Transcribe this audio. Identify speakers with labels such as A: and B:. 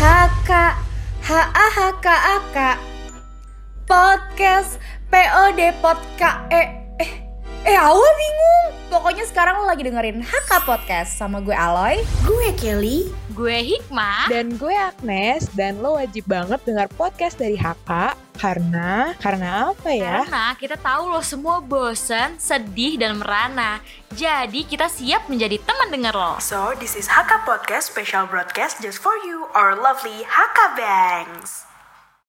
A: ah, KAHKAK Podcast POD Podka eh eh eh awal bingung. Pokoknya sekarang lo lagi dengerin HK Podcast sama gue Aloy.
B: Gue Kelly.
C: Gue Hikmah.
D: Dan gue Agnes dan lo wajib banget dengar podcast dari HK karena karena apa ya?
C: Karena kita tahu lo semua bosen, sedih, dan merana. Jadi kita siap menjadi teman denger lo.
B: So, this is Haka Podcast special broadcast just for you, our lovely Haka Bangs.